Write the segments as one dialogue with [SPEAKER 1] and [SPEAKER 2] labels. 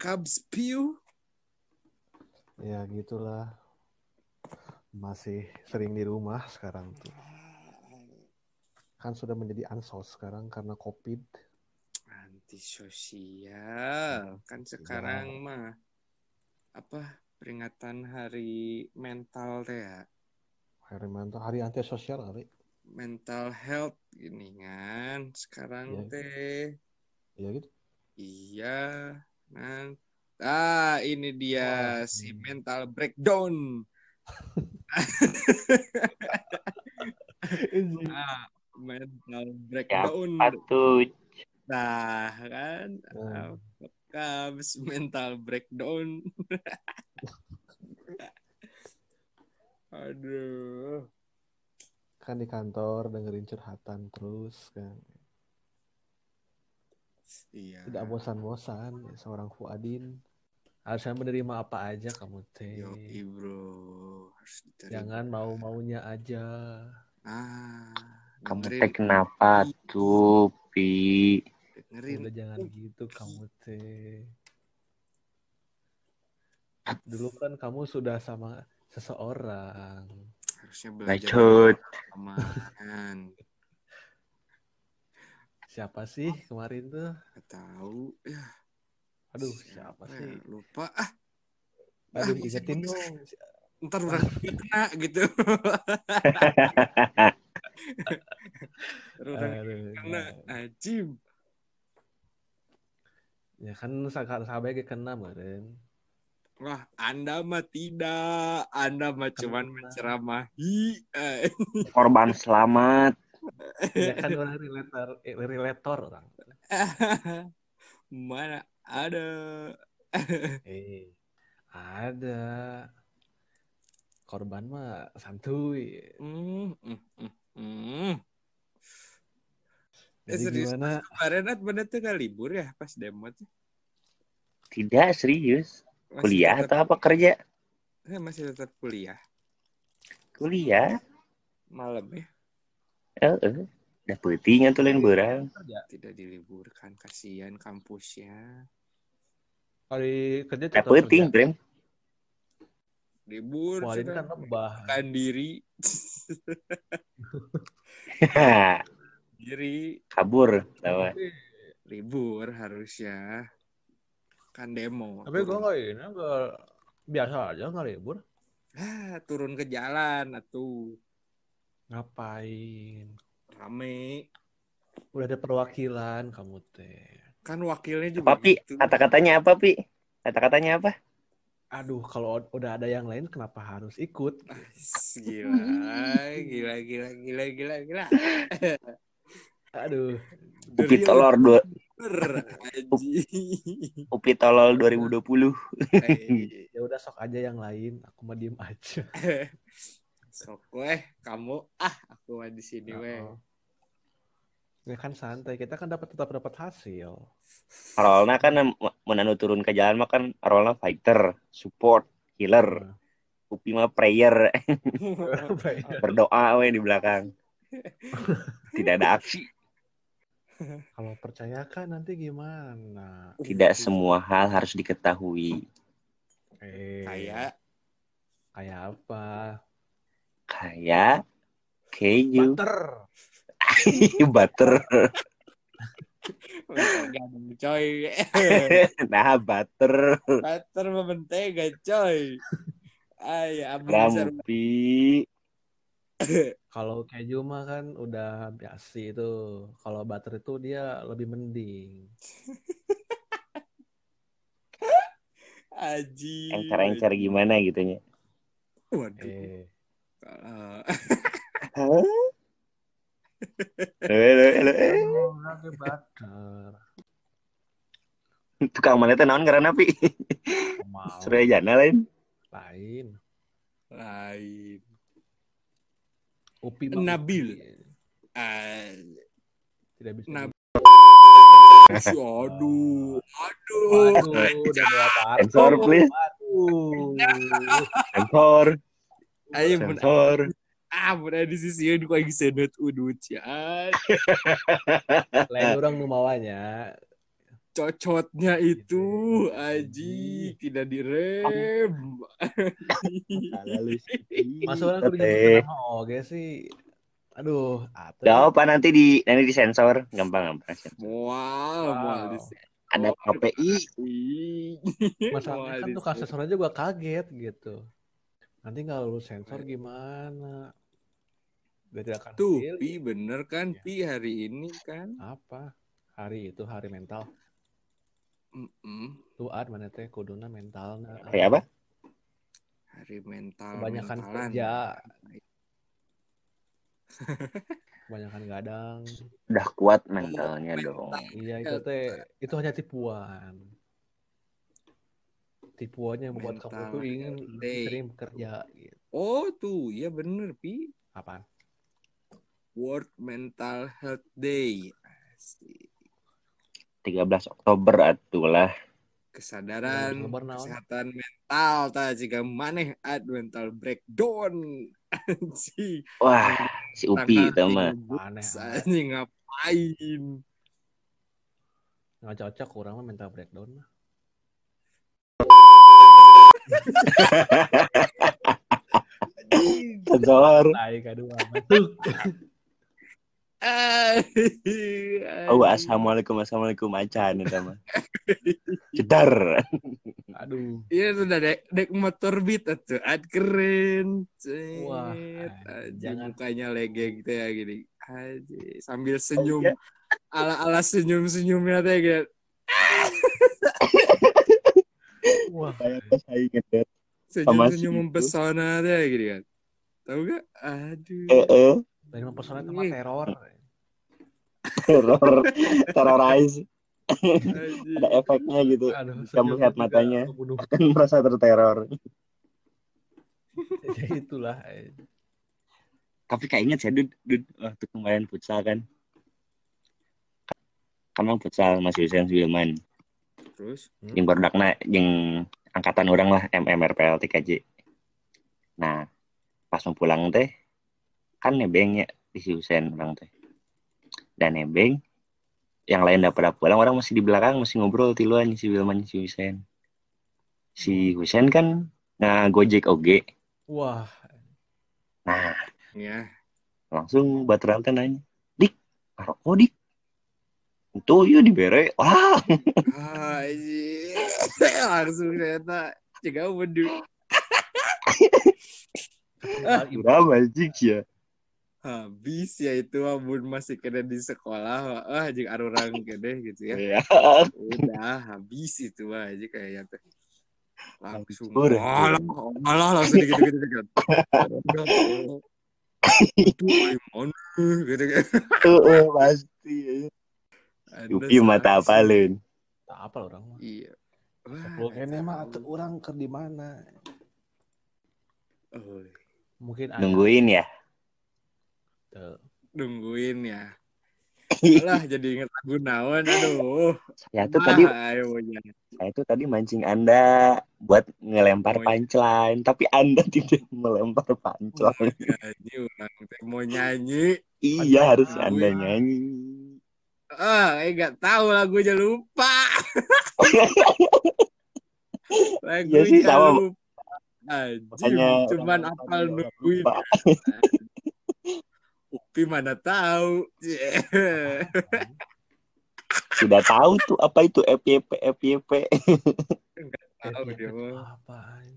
[SPEAKER 1] Cubs Pew.
[SPEAKER 2] Ya gitulah. Masih sering di rumah sekarang tuh. Kan sudah menjadi ansos sekarang karena COVID.
[SPEAKER 1] Antisosial. Kan sekarang mah apa peringatan hari mental teh ya.
[SPEAKER 2] Hari mental, hari antisosial kali.
[SPEAKER 1] Mental health gini kan.
[SPEAKER 2] Iya.
[SPEAKER 1] Sekarang teh
[SPEAKER 2] Ya gitu.
[SPEAKER 1] iya nah ah ini dia
[SPEAKER 2] Oh.
[SPEAKER 1] si mental breakdown. Ah, mental breakdown.
[SPEAKER 3] Satu
[SPEAKER 1] Nah, kan
[SPEAKER 2] Nah,
[SPEAKER 1] Cubs mental breakdown. Aduh.
[SPEAKER 2] kan di kantor dengerin curhatan terus kan.
[SPEAKER 1] Iya.
[SPEAKER 2] Tidak bosan-bosan ya, seorang Fuadin. Harusnya menerima apa aja kamu teh.
[SPEAKER 1] Yoi, bro. Harus diterima.
[SPEAKER 2] Jangan mau-maunya aja.
[SPEAKER 1] Ah,
[SPEAKER 3] kamu
[SPEAKER 1] dengerin,
[SPEAKER 3] teh kenapa tuh pi?
[SPEAKER 1] dengerin.
[SPEAKER 2] Udah jangan gitu kamu teh. Dulu kan kamu sudah sama seseorang.
[SPEAKER 1] Harusnya belajar
[SPEAKER 3] Lanjut.
[SPEAKER 1] pengalaman.
[SPEAKER 2] Siapa sih kemarin tuh?
[SPEAKER 1] Gak tahu. Ya,
[SPEAKER 2] Aduh, siapa
[SPEAKER 1] ya?
[SPEAKER 2] sih?
[SPEAKER 1] Lupa. Ah,
[SPEAKER 2] Nah. Aduh, ingetin dong.
[SPEAKER 1] ntar orang kena gitu. Ntar orang
[SPEAKER 2] eh, Aduh,
[SPEAKER 1] kena. Ajib.
[SPEAKER 2] Ya kan sakar sampai ke kena kemarin.
[SPEAKER 1] Wah, Anda mah tidak. Anda mah cuman
[SPEAKER 2] Kenapa?
[SPEAKER 1] menceramahi. Eh,
[SPEAKER 3] Korban selamat.
[SPEAKER 2] Ya kan orang relator, eh, relator orang.
[SPEAKER 1] Mana ada.
[SPEAKER 2] Eh, ada korban mah santuy.
[SPEAKER 1] Hmm, hmm, hmm, hmm. Eh,
[SPEAKER 2] Jadi
[SPEAKER 1] serius?
[SPEAKER 2] gimana?
[SPEAKER 1] Kemarin at bener tuh gak libur ya pas demo tuh.
[SPEAKER 3] Tidak serius.
[SPEAKER 1] Masih
[SPEAKER 3] Kuliah
[SPEAKER 1] tetap-
[SPEAKER 3] atau apa kerja?
[SPEAKER 1] Eh, masih tetap kuliah
[SPEAKER 3] Kuliah.
[SPEAKER 1] malam ya.
[SPEAKER 3] Eh, eh. Udah penting atau lain berang.
[SPEAKER 2] Kerja.
[SPEAKER 1] Tidak diliburkan kasihan kampusnya.
[SPEAKER 2] Hari kerja
[SPEAKER 3] Udah
[SPEAKER 2] tetap
[SPEAKER 3] penting,
[SPEAKER 2] kerja.
[SPEAKER 3] Brem.
[SPEAKER 1] Libur
[SPEAKER 2] Kemarin
[SPEAKER 1] sudah.
[SPEAKER 2] kan lebah.
[SPEAKER 1] Kan diri.
[SPEAKER 3] Haha,
[SPEAKER 1] diri
[SPEAKER 3] Kabur. Lawan.
[SPEAKER 1] libur harusnya. Kan demo.
[SPEAKER 2] Tapi gue nggak ini, nggak biasa aja nggak libur.
[SPEAKER 1] Ah, turun ke jalan atau
[SPEAKER 2] Ngapain?
[SPEAKER 1] rame
[SPEAKER 2] Udah ada perwakilan kamu teh.
[SPEAKER 1] kan wakilnya juga
[SPEAKER 3] Apa, Pi?
[SPEAKER 1] gitu.
[SPEAKER 3] Kata-katanya apa, Pi? Kata-katanya apa?
[SPEAKER 2] Aduh, kalau udah ada yang lain kenapa harus ikut?
[SPEAKER 1] Ah, gila gila gila gila gila gila
[SPEAKER 2] Aduh,
[SPEAKER 1] The
[SPEAKER 3] Upi
[SPEAKER 1] real
[SPEAKER 3] Tolor, dua-
[SPEAKER 1] leader, anjing.
[SPEAKER 3] Upi Tolol 2020.
[SPEAKER 1] Eh,
[SPEAKER 2] ya udah sok aja yang lain. Aku mah diem aja.
[SPEAKER 1] sok weh kamu ah aku mah di sini weh
[SPEAKER 2] Oh. Ya kan santai, kita kan dapat tetap dapat hasil.
[SPEAKER 3] Arolna kan em- menanu turun ke jalan mah kan Arolna fighter, support, healer. Upi mah prayer, Eh,
[SPEAKER 2] Nah,
[SPEAKER 3] berdoa we di belakang. Tidak ada aksi,
[SPEAKER 2] Kalau percayakan nanti gimana?
[SPEAKER 3] tidak semua hal harus diketahui.
[SPEAKER 2] Eh,
[SPEAKER 1] kayak
[SPEAKER 2] kayak apa?
[SPEAKER 3] Kayak
[SPEAKER 1] Iya.
[SPEAKER 3] keju,
[SPEAKER 2] Butter.
[SPEAKER 3] butter. Iya.
[SPEAKER 1] mentega dong, coy
[SPEAKER 3] Nah, butter.
[SPEAKER 1] butter mah mentega coy ay abis
[SPEAKER 3] Rampi.
[SPEAKER 2] Kalau keju mah kan udah biasa itu. Kalau butter itu dia lebih mending.
[SPEAKER 1] aji
[SPEAKER 3] Encer-encer gimana gitu gitunya.
[SPEAKER 1] waduh
[SPEAKER 2] Eh,
[SPEAKER 1] Eh,
[SPEAKER 3] Hah? Eh, eh, eh, eh.
[SPEAKER 2] kalau lagi butter.
[SPEAKER 3] Tukang mana teh naon ngaranna pi?
[SPEAKER 2] Mau
[SPEAKER 3] Surya Jana lain.
[SPEAKER 2] lain.
[SPEAKER 1] lain
[SPEAKER 2] Upi mah
[SPEAKER 1] Nabil.
[SPEAKER 2] Upi.
[SPEAKER 1] Ah,
[SPEAKER 2] Tidak bisa.
[SPEAKER 1] Nabil. aduh, aduh.
[SPEAKER 3] Eh,
[SPEAKER 2] Waduh, udah dua kartu.
[SPEAKER 3] Sensor, eh, please.
[SPEAKER 2] Waduh.
[SPEAKER 3] Sensor,
[SPEAKER 1] Ayo mun
[SPEAKER 3] sensor.
[SPEAKER 1] ah mun ada di sisi ini ku lagi sedot udut ya.
[SPEAKER 2] Lain orang nu mawanya
[SPEAKER 1] cocotnya itu
[SPEAKER 2] Iya.
[SPEAKER 1] aji tidak direm
[SPEAKER 3] Lalu
[SPEAKER 2] Masuk aku bikin
[SPEAKER 3] Teteh.
[SPEAKER 2] nama "Oh, oke sih. Aduh, apa? ya?
[SPEAKER 3] Gak apa nanti di nanti disensor gampang gampang.
[SPEAKER 1] wow wow
[SPEAKER 2] Wow.
[SPEAKER 3] Ada
[SPEAKER 1] Oh.
[SPEAKER 3] KPI.
[SPEAKER 2] Masalahnya kan tukang sensor aja gua kaget gitu. Nanti nggak lulus sensor gimana? Gak tidak akan
[SPEAKER 1] tuh
[SPEAKER 2] kepilih.
[SPEAKER 1] pi bener kan
[SPEAKER 2] Ya.
[SPEAKER 1] pi hari ini kan
[SPEAKER 2] apa? Hari itu hari mental.
[SPEAKER 1] Mm-mm.
[SPEAKER 2] Tuat mana teh kuduna mentalna.
[SPEAKER 3] Hari apa?
[SPEAKER 1] hari mental
[SPEAKER 2] Kebanyakan
[SPEAKER 1] mentalan.
[SPEAKER 2] kerja. Kebanyakan gadang.
[SPEAKER 3] Udah kuat mentalnya dong.
[SPEAKER 2] Iya itu teh itu hanya tipuan. Tipuannya yang membuat kamu
[SPEAKER 1] Mental
[SPEAKER 2] tuh ingin
[SPEAKER 1] health day.
[SPEAKER 2] sering bekerja gitu.
[SPEAKER 1] oh tuh ya bener pi
[SPEAKER 2] Apaan?
[SPEAKER 1] World Mental Health Day Asik.
[SPEAKER 3] 13 Oktober atulah.
[SPEAKER 1] kesadaran
[SPEAKER 2] Iya, Lebar naon?
[SPEAKER 1] kesehatan mental ta jika maneh ad mental breakdown anjing
[SPEAKER 3] Wah, si Upi itu mah.
[SPEAKER 1] aneh
[SPEAKER 2] Aneh amat.
[SPEAKER 1] anjing ngapain
[SPEAKER 2] Nggak cocok kurang mah mental breakdown mah.
[SPEAKER 3] Sensor.
[SPEAKER 2] Tai kedua. Tuh.
[SPEAKER 3] Oh, assalamualaikum assalamualaikum acan itu mah. Jedar.
[SPEAKER 2] Aduh.
[SPEAKER 1] Iya sudah dek dek motor beat atuh ad keren. Cet.
[SPEAKER 2] Wah,
[SPEAKER 1] Anjing,
[SPEAKER 2] jangan.
[SPEAKER 1] mukanya lege gitu ya gini. Anjing, sambil senyum.
[SPEAKER 3] Oh, iya.
[SPEAKER 1] Ala-ala senyum-senyumnya teh gitu.
[SPEAKER 2] Wah.
[SPEAKER 3] saya inget. Sama si
[SPEAKER 1] Senyum-senyum
[SPEAKER 3] itu.
[SPEAKER 1] mempesona teh gitu kan. Tahu gak? Aduh.
[SPEAKER 3] Heeh,
[SPEAKER 2] Dari mempesona itu mah teror.
[SPEAKER 3] teror terrorize.
[SPEAKER 1] anjing.
[SPEAKER 3] Ada efeknya gitu.
[SPEAKER 2] Aduh,
[SPEAKER 3] Bisa
[SPEAKER 2] senyum
[SPEAKER 3] melihat
[SPEAKER 2] juga
[SPEAKER 3] matanya.
[SPEAKER 2] membunuh.
[SPEAKER 3] Kan merasa terteror.
[SPEAKER 2] Ya itulah. eh.
[SPEAKER 3] Tapi kayak inget ya, Dud, Dud, waktu kemarin futsal kan. Kamu futsal Mas Yusen Sudirman.
[SPEAKER 1] Terus
[SPEAKER 3] Yang produknya, yang angkatan orang lah, MMRPL, TKJ. Nah, pas mau pulang teh, kan nebengnya di si Yusen orang teh. Dan nebeng, yang lain udah pada pulang, orang masih di belakang, masih ngobrol tiluan si Wilman, si Husen. Si Husen kan ngagojek oge.
[SPEAKER 2] Wah,
[SPEAKER 3] Nah,
[SPEAKER 1] ya.
[SPEAKER 3] langsung baterai teh nanya dik karo oh dik iya, itu yuk dibere wah
[SPEAKER 1] Ah, anjing. Langsung ternyata Jika bedu.
[SPEAKER 3] berapa jik ya
[SPEAKER 1] Habis ya itu amun masih kena di sekolah. Ah, jeung arurang kene gitu ya.
[SPEAKER 3] ya
[SPEAKER 1] udah habis itu aja kayaknya teh langsung
[SPEAKER 3] Hancur.
[SPEAKER 1] malah malah langsung gitu gitu gitu itu gimana gitu kan
[SPEAKER 3] Heeh, pasti Yupi Iya, mata apa lin
[SPEAKER 2] tak apa lah orang mah.
[SPEAKER 1] iya
[SPEAKER 2] Kalau ini mah atuh orang ke di mana?
[SPEAKER 1] Oh,
[SPEAKER 2] Mungkin ada
[SPEAKER 3] nungguin ya
[SPEAKER 2] tuh.
[SPEAKER 1] nungguin ya lah jadi inget lagu naon aduh
[SPEAKER 3] saya tuh tadi
[SPEAKER 1] Ah, ayo ya
[SPEAKER 3] saya tuh tadi mancing anda buat ngelempar
[SPEAKER 1] Oh, iya.
[SPEAKER 3] punchline tapi anda tidak melempar punchline
[SPEAKER 1] nyanyi orang teh mau nyanyi
[SPEAKER 3] iya harus
[SPEAKER 1] Punchline.
[SPEAKER 3] anda nyanyi
[SPEAKER 1] ah eh nggak tahu lagunya lupa lagunya
[SPEAKER 3] Iya sih, sama.
[SPEAKER 1] Eh, lupa Anjing,
[SPEAKER 3] Makanya
[SPEAKER 1] cuman
[SPEAKER 3] orang-orang
[SPEAKER 1] apal
[SPEAKER 3] pada
[SPEAKER 1] nungguin
[SPEAKER 3] lupa.
[SPEAKER 1] Upi mana tahu. Yeah.
[SPEAKER 3] sudah tahu tuh apa itu FYP FYP
[SPEAKER 1] Tahu
[SPEAKER 2] Apa eh?
[SPEAKER 1] dia mah.
[SPEAKER 2] Apaan?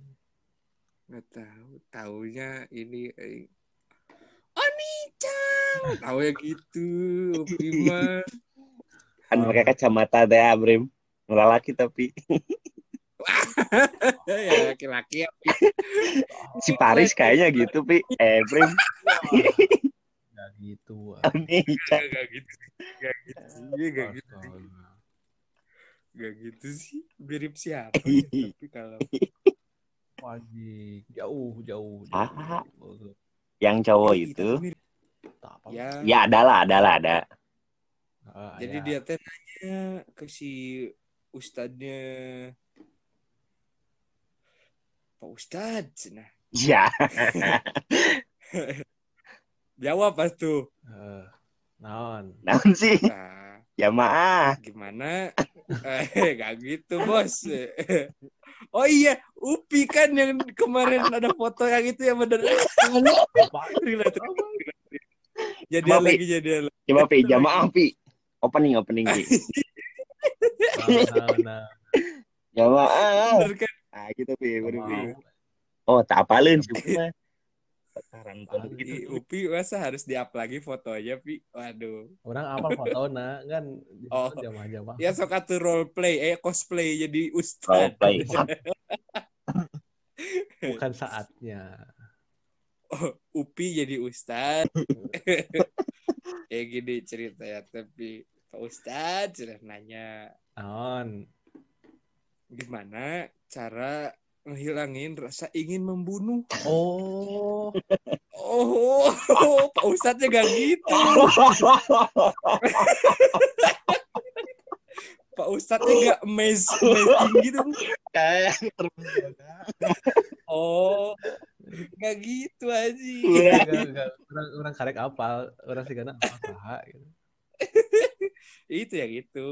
[SPEAKER 1] Nggak tahu. Taunya ini eh, Oni-chan. Tahu ya gitu. Upi mah.
[SPEAKER 3] kan mereka kacamata deh Abrim ngelalaki tapi
[SPEAKER 1] ya laki-laki ya. Oh,
[SPEAKER 3] si Paris kayaknya gitu pi eh Prim
[SPEAKER 2] Ya gitu. ah.
[SPEAKER 3] ini Ica.
[SPEAKER 1] Gak gitu. Gak gitu sih. Dia Gak gitu.
[SPEAKER 2] Astaga.
[SPEAKER 1] Gak gitu sih. Mirip siapa ya. Tapi kalau
[SPEAKER 2] Wajib jauh jauh. jauh.
[SPEAKER 3] Ah.
[SPEAKER 2] Bagus.
[SPEAKER 3] yang cowok Oh, itu
[SPEAKER 1] Mirip.
[SPEAKER 2] Tak apa.
[SPEAKER 1] Ya.
[SPEAKER 3] ya adalah adalah ada
[SPEAKER 2] Ah,
[SPEAKER 1] Jadi dia
[SPEAKER 2] ya.
[SPEAKER 1] teh nanya ke si ustadnya. Pak Ustadz, nah
[SPEAKER 3] ya
[SPEAKER 1] jawab pas tuh.
[SPEAKER 2] Eh, naon?
[SPEAKER 3] namun sih
[SPEAKER 1] Nah,
[SPEAKER 3] ya maaf
[SPEAKER 1] gimana eh gak gitu bos oh iya Upi kan yang kemarin ada foto yang itu yang bener Relate. jadian
[SPEAKER 3] Maaf, Pi.
[SPEAKER 1] lagi jadian lagi
[SPEAKER 3] Coba Pi, jamaah Pi. Opening, opening Pi.
[SPEAKER 2] Nah, nah,
[SPEAKER 3] Jamaah.
[SPEAKER 1] Bener kan?
[SPEAKER 3] Nah gitu Pi, baru Pi.
[SPEAKER 2] nah.
[SPEAKER 3] Oh tak apalin sih Pi, mah. Sekarang tuh
[SPEAKER 2] Apalin.
[SPEAKER 1] Ih,
[SPEAKER 3] gitu.
[SPEAKER 1] Upi masa harus di-up lagi fotonya Pi waduh
[SPEAKER 2] Orang apa foto nah kan di
[SPEAKER 1] Oh.
[SPEAKER 2] foto jamaah-jamaah.
[SPEAKER 1] ya sok atuh role play eh cosplay jadi
[SPEAKER 3] Kalau
[SPEAKER 1] ustad
[SPEAKER 3] play.
[SPEAKER 2] Bukan saatnya.
[SPEAKER 1] Oh, Upi jadi ustad ya gini cerita ya tapi Pak Ustad sudah nanya
[SPEAKER 2] Naon.
[SPEAKER 1] gimana cara menghilangin rasa ingin membunuh.
[SPEAKER 2] Oh.
[SPEAKER 1] Oh, Pak Ustadznya gak gitu. Pak Ustadznya gak amazed, amazing gitu.
[SPEAKER 3] Kayak
[SPEAKER 1] Oh, gak gitu aja.
[SPEAKER 3] terbuka.
[SPEAKER 2] Enggak, enggak. Orang, orang karek apal. Orang sih karena apal saha, gitu.
[SPEAKER 1] Itu ya gitu.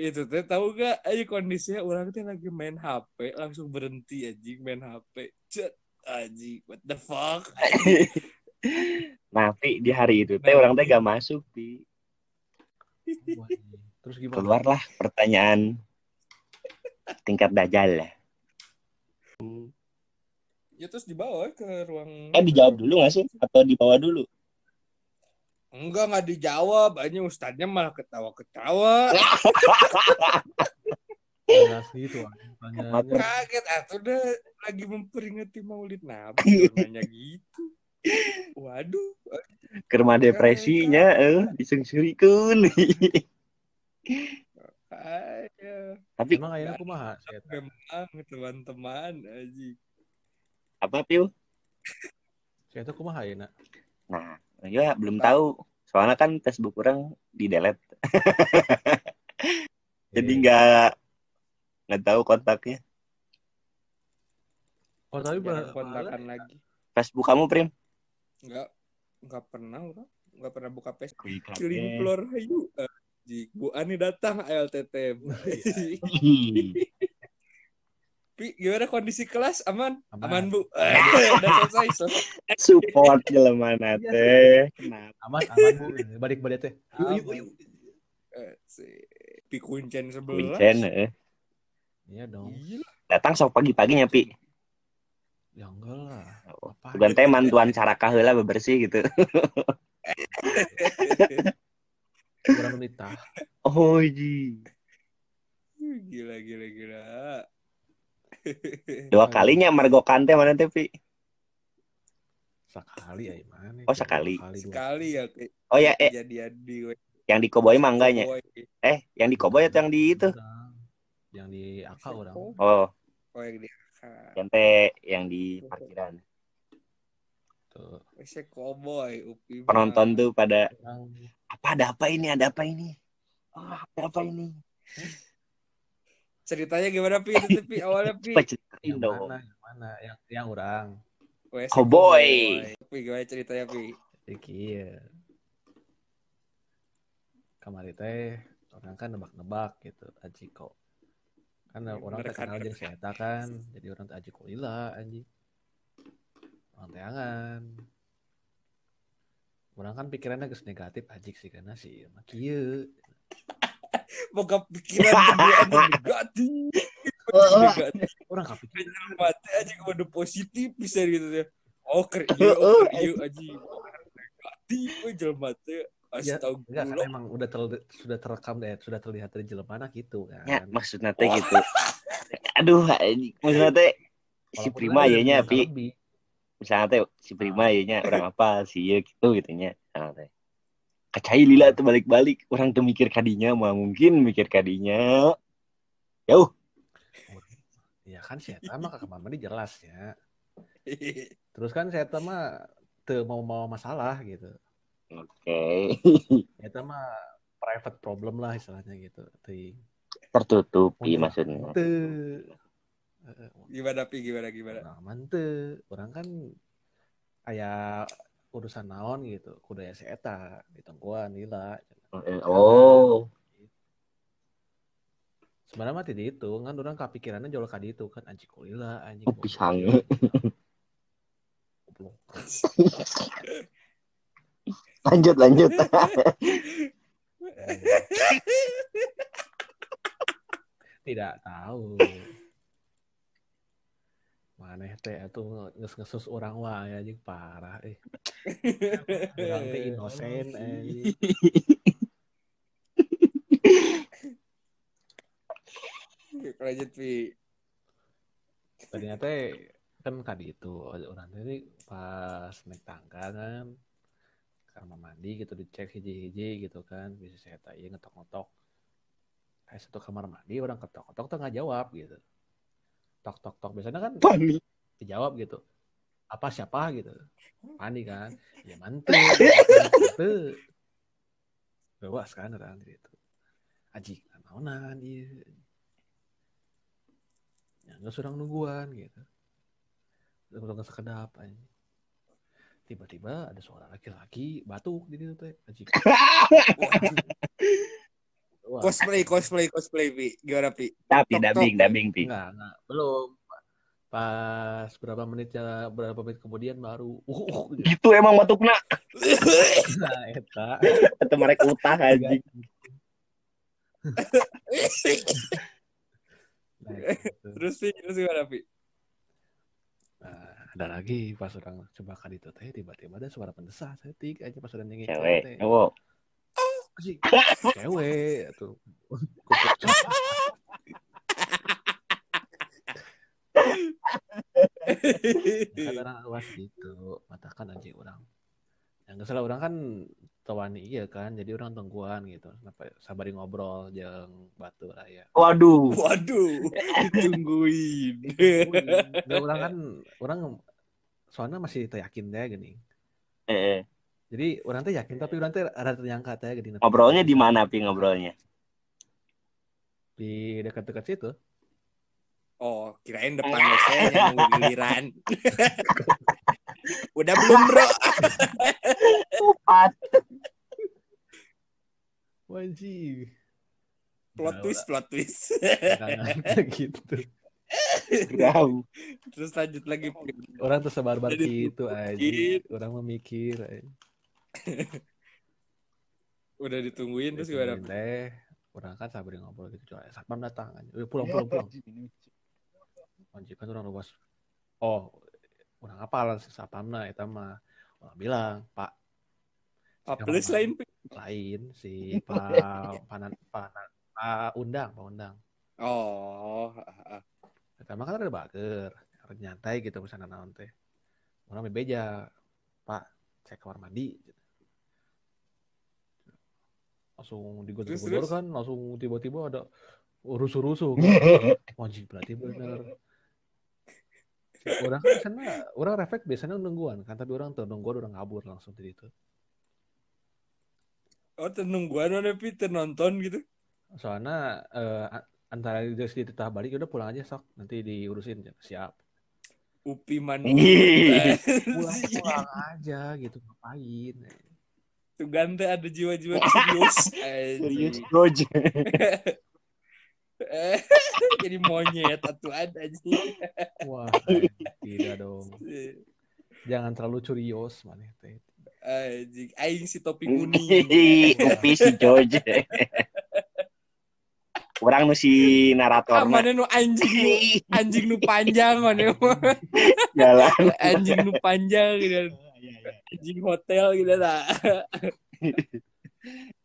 [SPEAKER 1] Itu teh tahu gak? Ayo kondisinya orang teh lagi main HP, langsung berhenti anjing main HP. Cet anjing, what the fuck?
[SPEAKER 3] Nah, Pi, di hari itu teh orang teh gak masuk, Pi.
[SPEAKER 2] Wah, iya. Terus gimana?
[SPEAKER 3] Keluarlah pertanyaan tingkat dajal lah.
[SPEAKER 1] Ya terus dibawa ke ruang
[SPEAKER 3] Eh dijawab dulu gak sih? Atau dibawa dulu?
[SPEAKER 1] Enggak, nggak dijawab. Hanya ustadznya malah ketawa-ketawa.
[SPEAKER 2] Jelas gitu. wah.
[SPEAKER 3] Iya.
[SPEAKER 2] Pertanyaannya.
[SPEAKER 1] Kaget atau udah lagi memperingati Maulid Nabi nanya gitu. Waduh,
[SPEAKER 3] Kerma depresinya, eh, disungsurikan.
[SPEAKER 1] ayo.
[SPEAKER 3] Tapi
[SPEAKER 2] Emang akhirnya kumaha? Set?
[SPEAKER 1] Memang teman-teman aji.
[SPEAKER 3] apa, Pi?
[SPEAKER 2] Saya itu kumaha ya, nak?
[SPEAKER 3] Nah, ya belum tahu. Soalnya kan Facebook orang di delete, jadi nggak nggak tahu kontaknya.
[SPEAKER 2] Oh, tapi
[SPEAKER 1] Jangan
[SPEAKER 2] ber-
[SPEAKER 1] kontakan lagi.
[SPEAKER 3] Facebook kamu Prim?
[SPEAKER 1] Enggak, enggak pernah orang. Enggak pernah buka Facebook. Kirim floor hayu. Aji. Bu Ani datang ALTT.
[SPEAKER 3] Iya.
[SPEAKER 1] Pi, gimana kondisi kelas? Aman? Aman,
[SPEAKER 2] Aman.
[SPEAKER 1] Bu. Udah selesai. selesai.
[SPEAKER 3] Support jelema
[SPEAKER 1] Iya,
[SPEAKER 3] na teh. Kenapa?
[SPEAKER 2] aman, aman bu. Balik balik teh. Yuk, yuk, yuk.
[SPEAKER 1] Eh, si Pi Kuncen sebelah.
[SPEAKER 3] Kuncen, eh.
[SPEAKER 2] Iya dong.
[SPEAKER 1] Gila.
[SPEAKER 3] Datang sok pagi-paginya Pi.
[SPEAKER 2] Ya enggak lah. Apa?
[SPEAKER 3] Oh, Bukan teh mantuan carakah heula bebersih gitu.
[SPEAKER 2] Kurang menitah.
[SPEAKER 3] Oh,
[SPEAKER 1] iya.
[SPEAKER 3] ji.
[SPEAKER 1] Gila, gila, gila.
[SPEAKER 3] Dua kalinya mergokan teh mana teh Pi?
[SPEAKER 2] Sekali ya, Iman.
[SPEAKER 3] Oh, sekali.
[SPEAKER 1] Sekali ya ke-
[SPEAKER 3] Oh ya, eh
[SPEAKER 1] kejadian di
[SPEAKER 3] yang di Koboi mah enggaknya.
[SPEAKER 1] Boy.
[SPEAKER 3] Eh, yang di Koboi atau yang di itu?
[SPEAKER 2] Yang di akal orang.
[SPEAKER 3] Oh,
[SPEAKER 1] Oh, yang di
[SPEAKER 3] yang teh yang di parkiran.
[SPEAKER 2] Tuh.
[SPEAKER 1] Wes koboi upi. mah.
[SPEAKER 3] Penonton tuh pada
[SPEAKER 2] Orang
[SPEAKER 3] apa ada apa ini ada apa ini oh, ada apa ini
[SPEAKER 1] Ceritanya gimana pi? Itu Iya, pi awalnya pi.
[SPEAKER 3] coba ceritain
[SPEAKER 2] yang
[SPEAKER 3] dong
[SPEAKER 2] mana? Yang mana? Yang yang orang.
[SPEAKER 1] Wes
[SPEAKER 3] Koboi.
[SPEAKER 1] Pi gimana ceritanya pi?
[SPEAKER 2] Iki ya. Kamari teh orang kan nebak-nebak gitu Ajiko.
[SPEAKER 1] Ya,
[SPEAKER 2] Kan orang
[SPEAKER 1] bener
[SPEAKER 2] teh
[SPEAKER 1] kan,
[SPEAKER 2] kenal
[SPEAKER 1] bener
[SPEAKER 2] jeung si eta kan. Jadi orang teh Ajiko lila anjing. Orang teangan. Orang kan pikirannya geus negatif ajik sih karena si ieu mah kieu.
[SPEAKER 1] Moga pikiran keduaan negatif. Negatif
[SPEAKER 2] Orang kapikiran
[SPEAKER 1] mati aja kepada positif bisa gitu ya. Oh, ker iya, oh, ker iya aja. Negatif we jelema teh.
[SPEAKER 2] ya, enggak kan
[SPEAKER 1] Astagfirullah.
[SPEAKER 2] emang udah terli- sudah terekam deh, sudah terlihat dari jelemana gitu kan.
[SPEAKER 3] ya maksudnya teh gitu aduh anjing. maksudnya teh
[SPEAKER 2] Walaupun
[SPEAKER 3] si prima
[SPEAKER 2] ada gitu.
[SPEAKER 3] ya nya
[SPEAKER 2] yang
[SPEAKER 3] pi
[SPEAKER 2] lebih.
[SPEAKER 3] misalnya teh si prima ya nya orang apa si ieu gitu gitu nya Misalnya teh kacai lila tuh balik-balik orang tuh mikir kadinya mah mungkin mikir kadinya jauh
[SPEAKER 2] Ya kan si eta mah kakak mama ini jelas ya. Terus kan saya mah teu mau mau masalah gitu.
[SPEAKER 3] oke
[SPEAKER 2] Eta mah private problem lah istilahnya gitu. Teuing.
[SPEAKER 3] tertutupi
[SPEAKER 2] Iya.
[SPEAKER 3] maksudnya
[SPEAKER 2] Teu. Heeh,
[SPEAKER 1] Gimana pi gimana gimana?
[SPEAKER 2] Eh, Pengalaman teu. Orang kan aya urusan naon gitu. Kudu aya si
[SPEAKER 3] Eh,
[SPEAKER 2] eta ditungguan lila.
[SPEAKER 3] oh
[SPEAKER 2] sebenarnya mah tidak itu kan orang kepikirannya jual kadi itu kan anjing kulila anjing
[SPEAKER 3] Oh, pisang.
[SPEAKER 2] goblok.
[SPEAKER 3] Lanjut lanjut.
[SPEAKER 2] tidak tahu maneh teh itu nges ngesus orang wae anjing parah eh orang teh inosen eh
[SPEAKER 1] lanjut pi
[SPEAKER 2] ternyata kan kali itu orang tadi pas naik tangga kan kamar mandi gitu dicek hiji-hiji gitu kan bisa saya tanya ngetok-ngetok kayak satu kamar mandi orang ketok-ketok tuh nggak jawab gitu tok-tok-tok biasanya kan
[SPEAKER 3] Panik.
[SPEAKER 2] dijawab gitu apa siapa gitu panik kan ya mantu mantu bawa kan orang itu aji naonan iya ya nggak surang nungguan gitu udah nggak sekedap aja tiba-tiba ada suara laki-laki batuk di situ teh aji Wah,
[SPEAKER 1] cosplay cosplay cosplay pi gimana pi Tok,
[SPEAKER 3] Tapi dabing
[SPEAKER 1] tok.
[SPEAKER 3] dabing pi.
[SPEAKER 2] Enggak, enggak. Belum. Pas berapa menit ya, berapa menit kemudian baru uh, uh gitu.
[SPEAKER 3] Gitu emang batukna
[SPEAKER 2] Nah, eta.
[SPEAKER 3] atau mereka utah anjing.
[SPEAKER 2] Nah, gitu.
[SPEAKER 1] terus pi terus gimana pi
[SPEAKER 2] Nah, ada lagi pas orang coba kali itu teh tiba-tiba ada suara pendesah setik aja pas orang nyanyi
[SPEAKER 3] Cewek.
[SPEAKER 2] teh.
[SPEAKER 3] Oh,
[SPEAKER 2] Asik. Cewek tuh. Kupluk. kan orang awas gitu matakan aja orang yang nggak salah orang kan tawani iya kan jadi orang tungguan gitu kenapa sabari ngobrol jeng batu ya. raya
[SPEAKER 3] waduh.
[SPEAKER 1] waduh ditungguin
[SPEAKER 2] Nggak, orang kan orang soalnya masih teu yakin deh gini
[SPEAKER 3] Eh, eh.
[SPEAKER 2] jadi orang teh yakin tapi orang teh ada ternyangka teh gini
[SPEAKER 3] ngobrolnya di mana pi ngobrolnya?
[SPEAKER 2] di dekat-dekat situ
[SPEAKER 1] oh kirain depan wc nya nunggu giliran udah belum bro
[SPEAKER 3] Tupat.
[SPEAKER 2] wajib
[SPEAKER 1] plot twist plot twist
[SPEAKER 2] gitu
[SPEAKER 3] Jauh.
[SPEAKER 1] terus lanjut lagi Pi.
[SPEAKER 2] orang tersebar bar
[SPEAKER 1] Jadi
[SPEAKER 2] gitu aja
[SPEAKER 1] gitu.
[SPEAKER 2] orang memikir aja.
[SPEAKER 1] udah ditungguin terus gimana Pi?
[SPEAKER 2] teh orang kan sabari ngobrol gitu coy satpam datang aja "Eh, pulang pulang pulang anjing kan orang luas oh orang apa si satpamna eta mah orang bilang pak
[SPEAKER 1] Apalagi lain Pi?
[SPEAKER 2] lain si pak panan panan pak undang pak undang
[SPEAKER 1] oh ah, ah.
[SPEAKER 2] eta mah kan ada bager ada nyantai gitu misalnya naon teh orang bebeja pak cek kamar mandi langsung digodor-godor
[SPEAKER 1] Terus, terus.
[SPEAKER 2] kan langsung tiba-tiba ada rusuh-rusuh Wajib berarti bener. Si orang kan biasanya, orang refleks biasanya nungguan kan, tapi orang tuh nungguan orang kabur langsung dari itu.
[SPEAKER 1] oh tenungguan mana pi tenonton gitu
[SPEAKER 2] Soalnya eh, a- antara dia sendiri tetap balik, udah pulang aja sok, nanti diurusin siap.
[SPEAKER 1] upi manu
[SPEAKER 3] Ih.
[SPEAKER 2] Pulang, pulang aja gitu ngapain?
[SPEAKER 1] tuh gante ada jiwa-jiwa serius Anjing.
[SPEAKER 3] Serius Doj.
[SPEAKER 1] Eh, jadi monyet atau ada aja
[SPEAKER 2] Wah, tidak dong. Jangan terlalu curios maneh teh.
[SPEAKER 1] anjing aing si topi kuning
[SPEAKER 3] Ih, Upi si Doj. Orang nu si
[SPEAKER 1] ah
[SPEAKER 3] narator
[SPEAKER 1] mana nu anjing nu anjing nu panjang mana mah.
[SPEAKER 3] jalan.
[SPEAKER 1] anjing nu panjang gitu anjing hotel gitu lah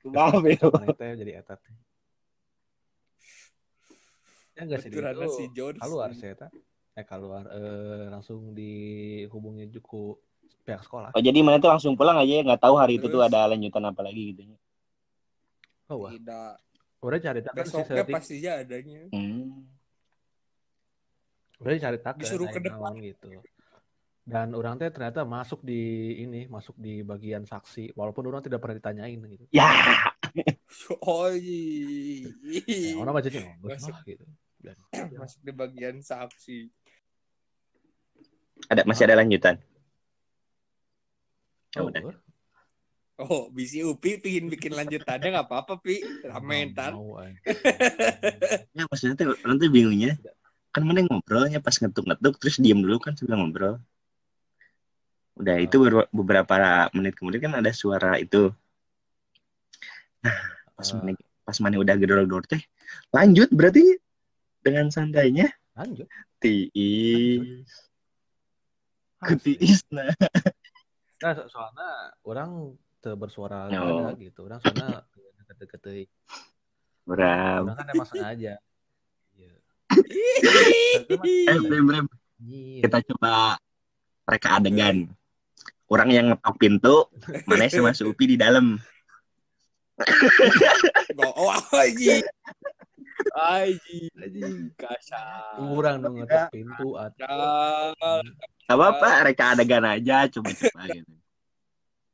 [SPEAKER 3] Kumaha beo.
[SPEAKER 2] Maneh teh jadi etat. Ya enggak sih
[SPEAKER 1] Aturanna
[SPEAKER 2] gitu.
[SPEAKER 1] si Jones
[SPEAKER 2] keluar saya tak eh keluar eh, langsung dihubungi juku pihak sekolah
[SPEAKER 3] Oh jadi mana tuh langsung pulang aja ya nggak tahu hari itu tuh
[SPEAKER 1] Terus.
[SPEAKER 3] ada lanjutan apa lagi gitu.
[SPEAKER 2] oh wah
[SPEAKER 1] tidak
[SPEAKER 2] udah cari tak kan si
[SPEAKER 1] besoknya
[SPEAKER 2] Celtic.
[SPEAKER 1] pastinya adanya
[SPEAKER 3] Hmm.
[SPEAKER 2] udah cari tak kan,
[SPEAKER 1] Disuruh ke
[SPEAKER 2] aing
[SPEAKER 1] depan.
[SPEAKER 2] naon gitu dan orang teh ternyata masuk di ini masuk di bagian saksi walaupun orang tidak pernah ditanyain gitu
[SPEAKER 3] Ya,
[SPEAKER 1] oh iya.
[SPEAKER 2] ya, orang aja sih "Oh,
[SPEAKER 1] Masuk.
[SPEAKER 2] lah," gitu dan
[SPEAKER 1] masuk di bagian saksi
[SPEAKER 3] ada masih ada lanjutan. Ya
[SPEAKER 2] oh,
[SPEAKER 3] udah.
[SPEAKER 1] Oh, bisi Upi pingin bikin lanjutannya nggak apa-apa, Pi. Ramen,
[SPEAKER 2] nggak
[SPEAKER 1] tar.
[SPEAKER 2] mau, aing.
[SPEAKER 3] Ya, maksudnya teh orang tuh bingungnya
[SPEAKER 2] Eh,
[SPEAKER 3] kan mana ngobrolnya pas ngetuk-ngetuk terus diem dulu kan sambil ngobrol udah itu ber- beberapa menit kemudian kan ada suara itu pas
[SPEAKER 2] Eh,
[SPEAKER 3] mana pas mana udah gedor-gedor teh lanjut berarti dengan santainya
[SPEAKER 2] lanjut
[SPEAKER 3] tiis
[SPEAKER 2] Asli.
[SPEAKER 3] kutiis nah
[SPEAKER 2] Nah, so- soalnya orang teu bersuara
[SPEAKER 3] No.
[SPEAKER 2] ada gitu. Orang soalnya deket-deket teuing.
[SPEAKER 3] beram
[SPEAKER 2] Orang kan emang sengaja. Iya.
[SPEAKER 3] eh brem, brem.
[SPEAKER 2] Iya.
[SPEAKER 3] kita coba mereka adegan orang yang ngetok pintu mana sama si Upi di dalam
[SPEAKER 1] Oh, aji. Aji. Kasar.
[SPEAKER 2] Kurang dong ngetok pintu
[SPEAKER 1] Ya.
[SPEAKER 2] atau
[SPEAKER 1] Kasar.
[SPEAKER 3] gak apa-apa mereka adegan aja coba-coba gitu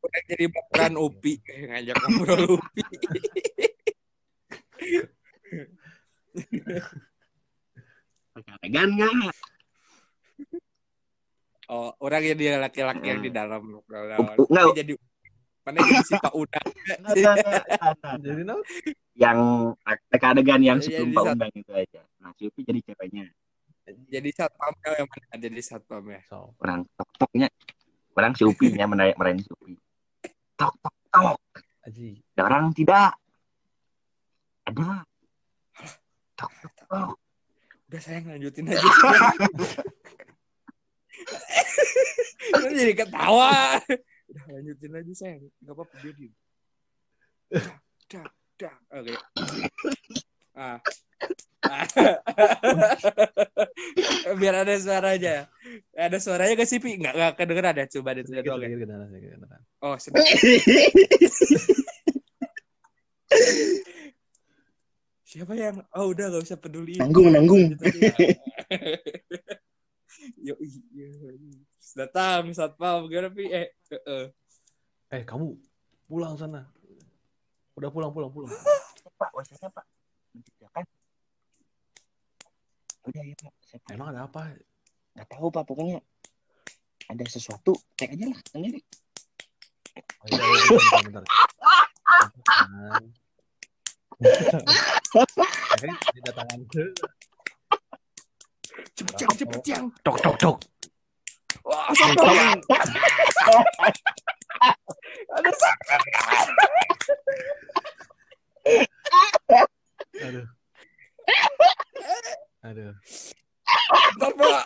[SPEAKER 1] Udah jadi bukan Upi ngajak ngobrol Upi.
[SPEAKER 3] mereka adegan nggak
[SPEAKER 1] Oh, orang yang dia laki-laki yang di dalam
[SPEAKER 3] Hmm. U- u-
[SPEAKER 1] Tapi jadi mana jadi si Pak Udang.
[SPEAKER 3] Nggak, nggak, nggak, nggak, nggak.
[SPEAKER 2] jadi no?
[SPEAKER 3] yang mereka adegan yang
[SPEAKER 1] Jadi di
[SPEAKER 3] sebelum Pak
[SPEAKER 1] satu-
[SPEAKER 3] Undang itu aja nah si Upi jadi ceweknya
[SPEAKER 1] Jadi satpamnya yang mana jadi ya. satpamnya.
[SPEAKER 2] So,
[SPEAKER 3] orang tok-toknya orang si Upinya merayain merayain si Upi tok-tok-tok
[SPEAKER 2] aji.
[SPEAKER 3] Ada orang tidak. Ada. Tok tok tok.
[SPEAKER 1] Udah saya lanjutin aja. Kan jadi ketawa. Udah lanjutin aja sayang. Gak apa-apa dia diem. Dak, dak, dak. Oke. Ah. Biar ada suaranya. Ada suaranya gak sih, Pi? Nggak, nggak kedengeran ya? Coba deh, coba
[SPEAKER 2] Sedikit,
[SPEAKER 1] doang ya.
[SPEAKER 2] sedikit, kedengeran, sedikit, kedengeran.
[SPEAKER 1] Oh, sedikit. Siapa yang, oh udah gak usah peduli.
[SPEAKER 3] Nanggung, nanggung.
[SPEAKER 1] Yo, iya. Datang, satpam, gimana, Pi? Eh, eh, eh.
[SPEAKER 2] Eh, kamu pulang sana. Udah pulang, pulang, pulang.
[SPEAKER 3] Pak, wc-nya Pak. Mencurigakan. Udah ya Pak, saya pulang.
[SPEAKER 2] Emang ada apa?
[SPEAKER 3] nggak tahu Pak, pokoknya ada sesuatu. Cek aja lah sendiri.
[SPEAKER 2] Oh, iya, iya, bentar, bentar. Tangan. Eh, tidak tangan.
[SPEAKER 1] cepet yang, cepet yang.
[SPEAKER 2] Tok, tok, tok.
[SPEAKER 1] Wah, satpam. Ada satpam.
[SPEAKER 2] Aduh. Aduh.
[SPEAKER 1] Pak.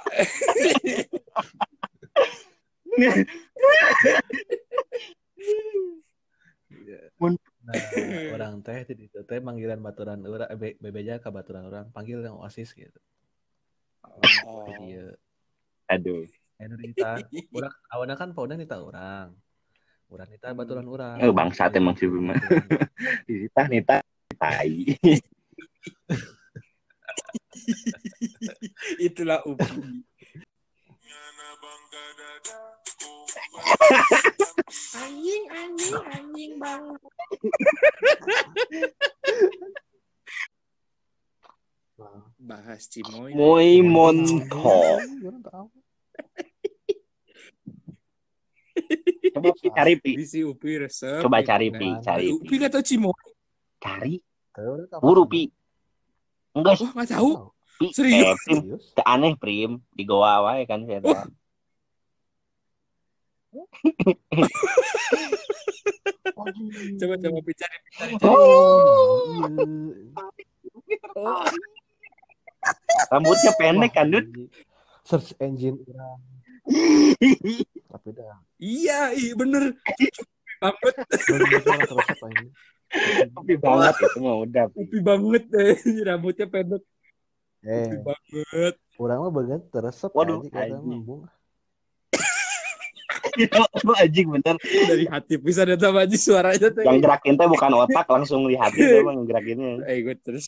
[SPEAKER 2] Nah, orang teh di ditu teh panggilan baturan orang eh, be- bebeja ke baturan orang panggil yang oasis gitu.
[SPEAKER 1] Oh.
[SPEAKER 2] Jadi Iya.
[SPEAKER 3] Aduh.
[SPEAKER 2] Anu kita orang awalnya kan paudang kita orang. Orang kita baturan orang.
[SPEAKER 3] Eh, bangsat emang si Bima. Nita, Nita. Tai.
[SPEAKER 1] Itulah Upi.
[SPEAKER 4] anjing anjing anjing bang
[SPEAKER 1] Bahas Cimoy.
[SPEAKER 3] Moi
[SPEAKER 2] Monko. Orang tahu.
[SPEAKER 3] Coba Pi, cari Pi.
[SPEAKER 1] Jadi si Upi resep.
[SPEAKER 3] Coba cari Pi, cari
[SPEAKER 1] Eh,
[SPEAKER 3] Pi.
[SPEAKER 1] Upi gak tau Cimoy.
[SPEAKER 3] Cari.
[SPEAKER 2] Orang tahu.
[SPEAKER 3] Buru Pi. Enggak
[SPEAKER 1] Wah, gak tau.
[SPEAKER 3] Pi.
[SPEAKER 1] Serius?
[SPEAKER 3] Eh, Prim,
[SPEAKER 2] Serius?
[SPEAKER 3] Teu aneh prim di goa wae kan saya teh.
[SPEAKER 1] Coba, coba Pi cari.
[SPEAKER 2] Oh,
[SPEAKER 1] Oh,
[SPEAKER 3] Rambutnya pendek kan, Dut?
[SPEAKER 2] Search engine orang. Tapi dah.
[SPEAKER 1] iya, iya bener. Banget,
[SPEAKER 2] Belum orang terus apa ini?
[SPEAKER 3] Tapi banget itu mah udah. Pi.
[SPEAKER 1] Upi banget. eh. Rambutnya pendek,
[SPEAKER 2] Eh,
[SPEAKER 1] Upi banget.
[SPEAKER 2] orang mah bagian teresep
[SPEAKER 3] Waduh,
[SPEAKER 2] aja kata
[SPEAKER 3] anjing.
[SPEAKER 2] mah.
[SPEAKER 3] Lu anjing bener.
[SPEAKER 1] Dari hati bisa datang aja suaranya. teh.
[SPEAKER 3] Yang gerakin teh bukan otak, langsung di hati teh emang gerakinnya.
[SPEAKER 1] Eh, gue terus.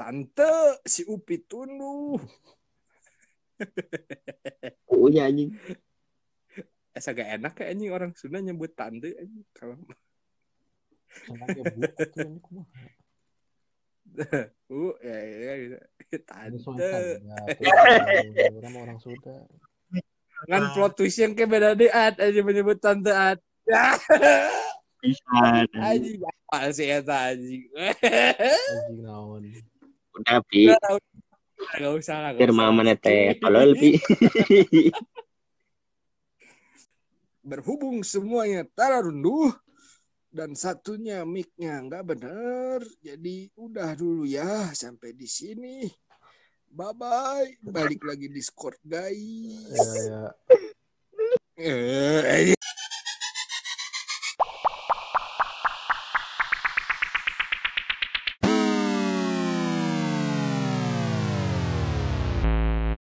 [SPEAKER 1] Tante, si Upi tunduh.
[SPEAKER 3] Uunya anjing.
[SPEAKER 1] Asa gak Eh, enak kayak anjing orang Sunda nyebut tante anjing. Kalau
[SPEAKER 2] Senangnya buku tuh ini kumaha.
[SPEAKER 1] uh ya, ya, gitu.
[SPEAKER 2] Ada soal
[SPEAKER 1] Tante.
[SPEAKER 2] tanda, tuh. Orang mah orang Sunda.
[SPEAKER 1] Eh, Ya. Kan plot twist yang kayak beda deh Ad aja menyebut tante Ad.
[SPEAKER 3] pisan.
[SPEAKER 1] Anjing apa sih eta anjing.
[SPEAKER 3] Iya.
[SPEAKER 2] anjing naon
[SPEAKER 3] Udah pi,
[SPEAKER 1] Enggak usah lah. nggak
[SPEAKER 3] keur
[SPEAKER 1] usah.
[SPEAKER 3] mana teh tolol pi.
[SPEAKER 1] Berhubung semuanya tararunduh dan satunya mic-nya nggak benar. Jadi udah dulu ya sampai di sini. Bye
[SPEAKER 2] Eh.
[SPEAKER 1] bye. Balik lagi Discord guys.
[SPEAKER 2] ya ya
[SPEAKER 1] Eh, eh.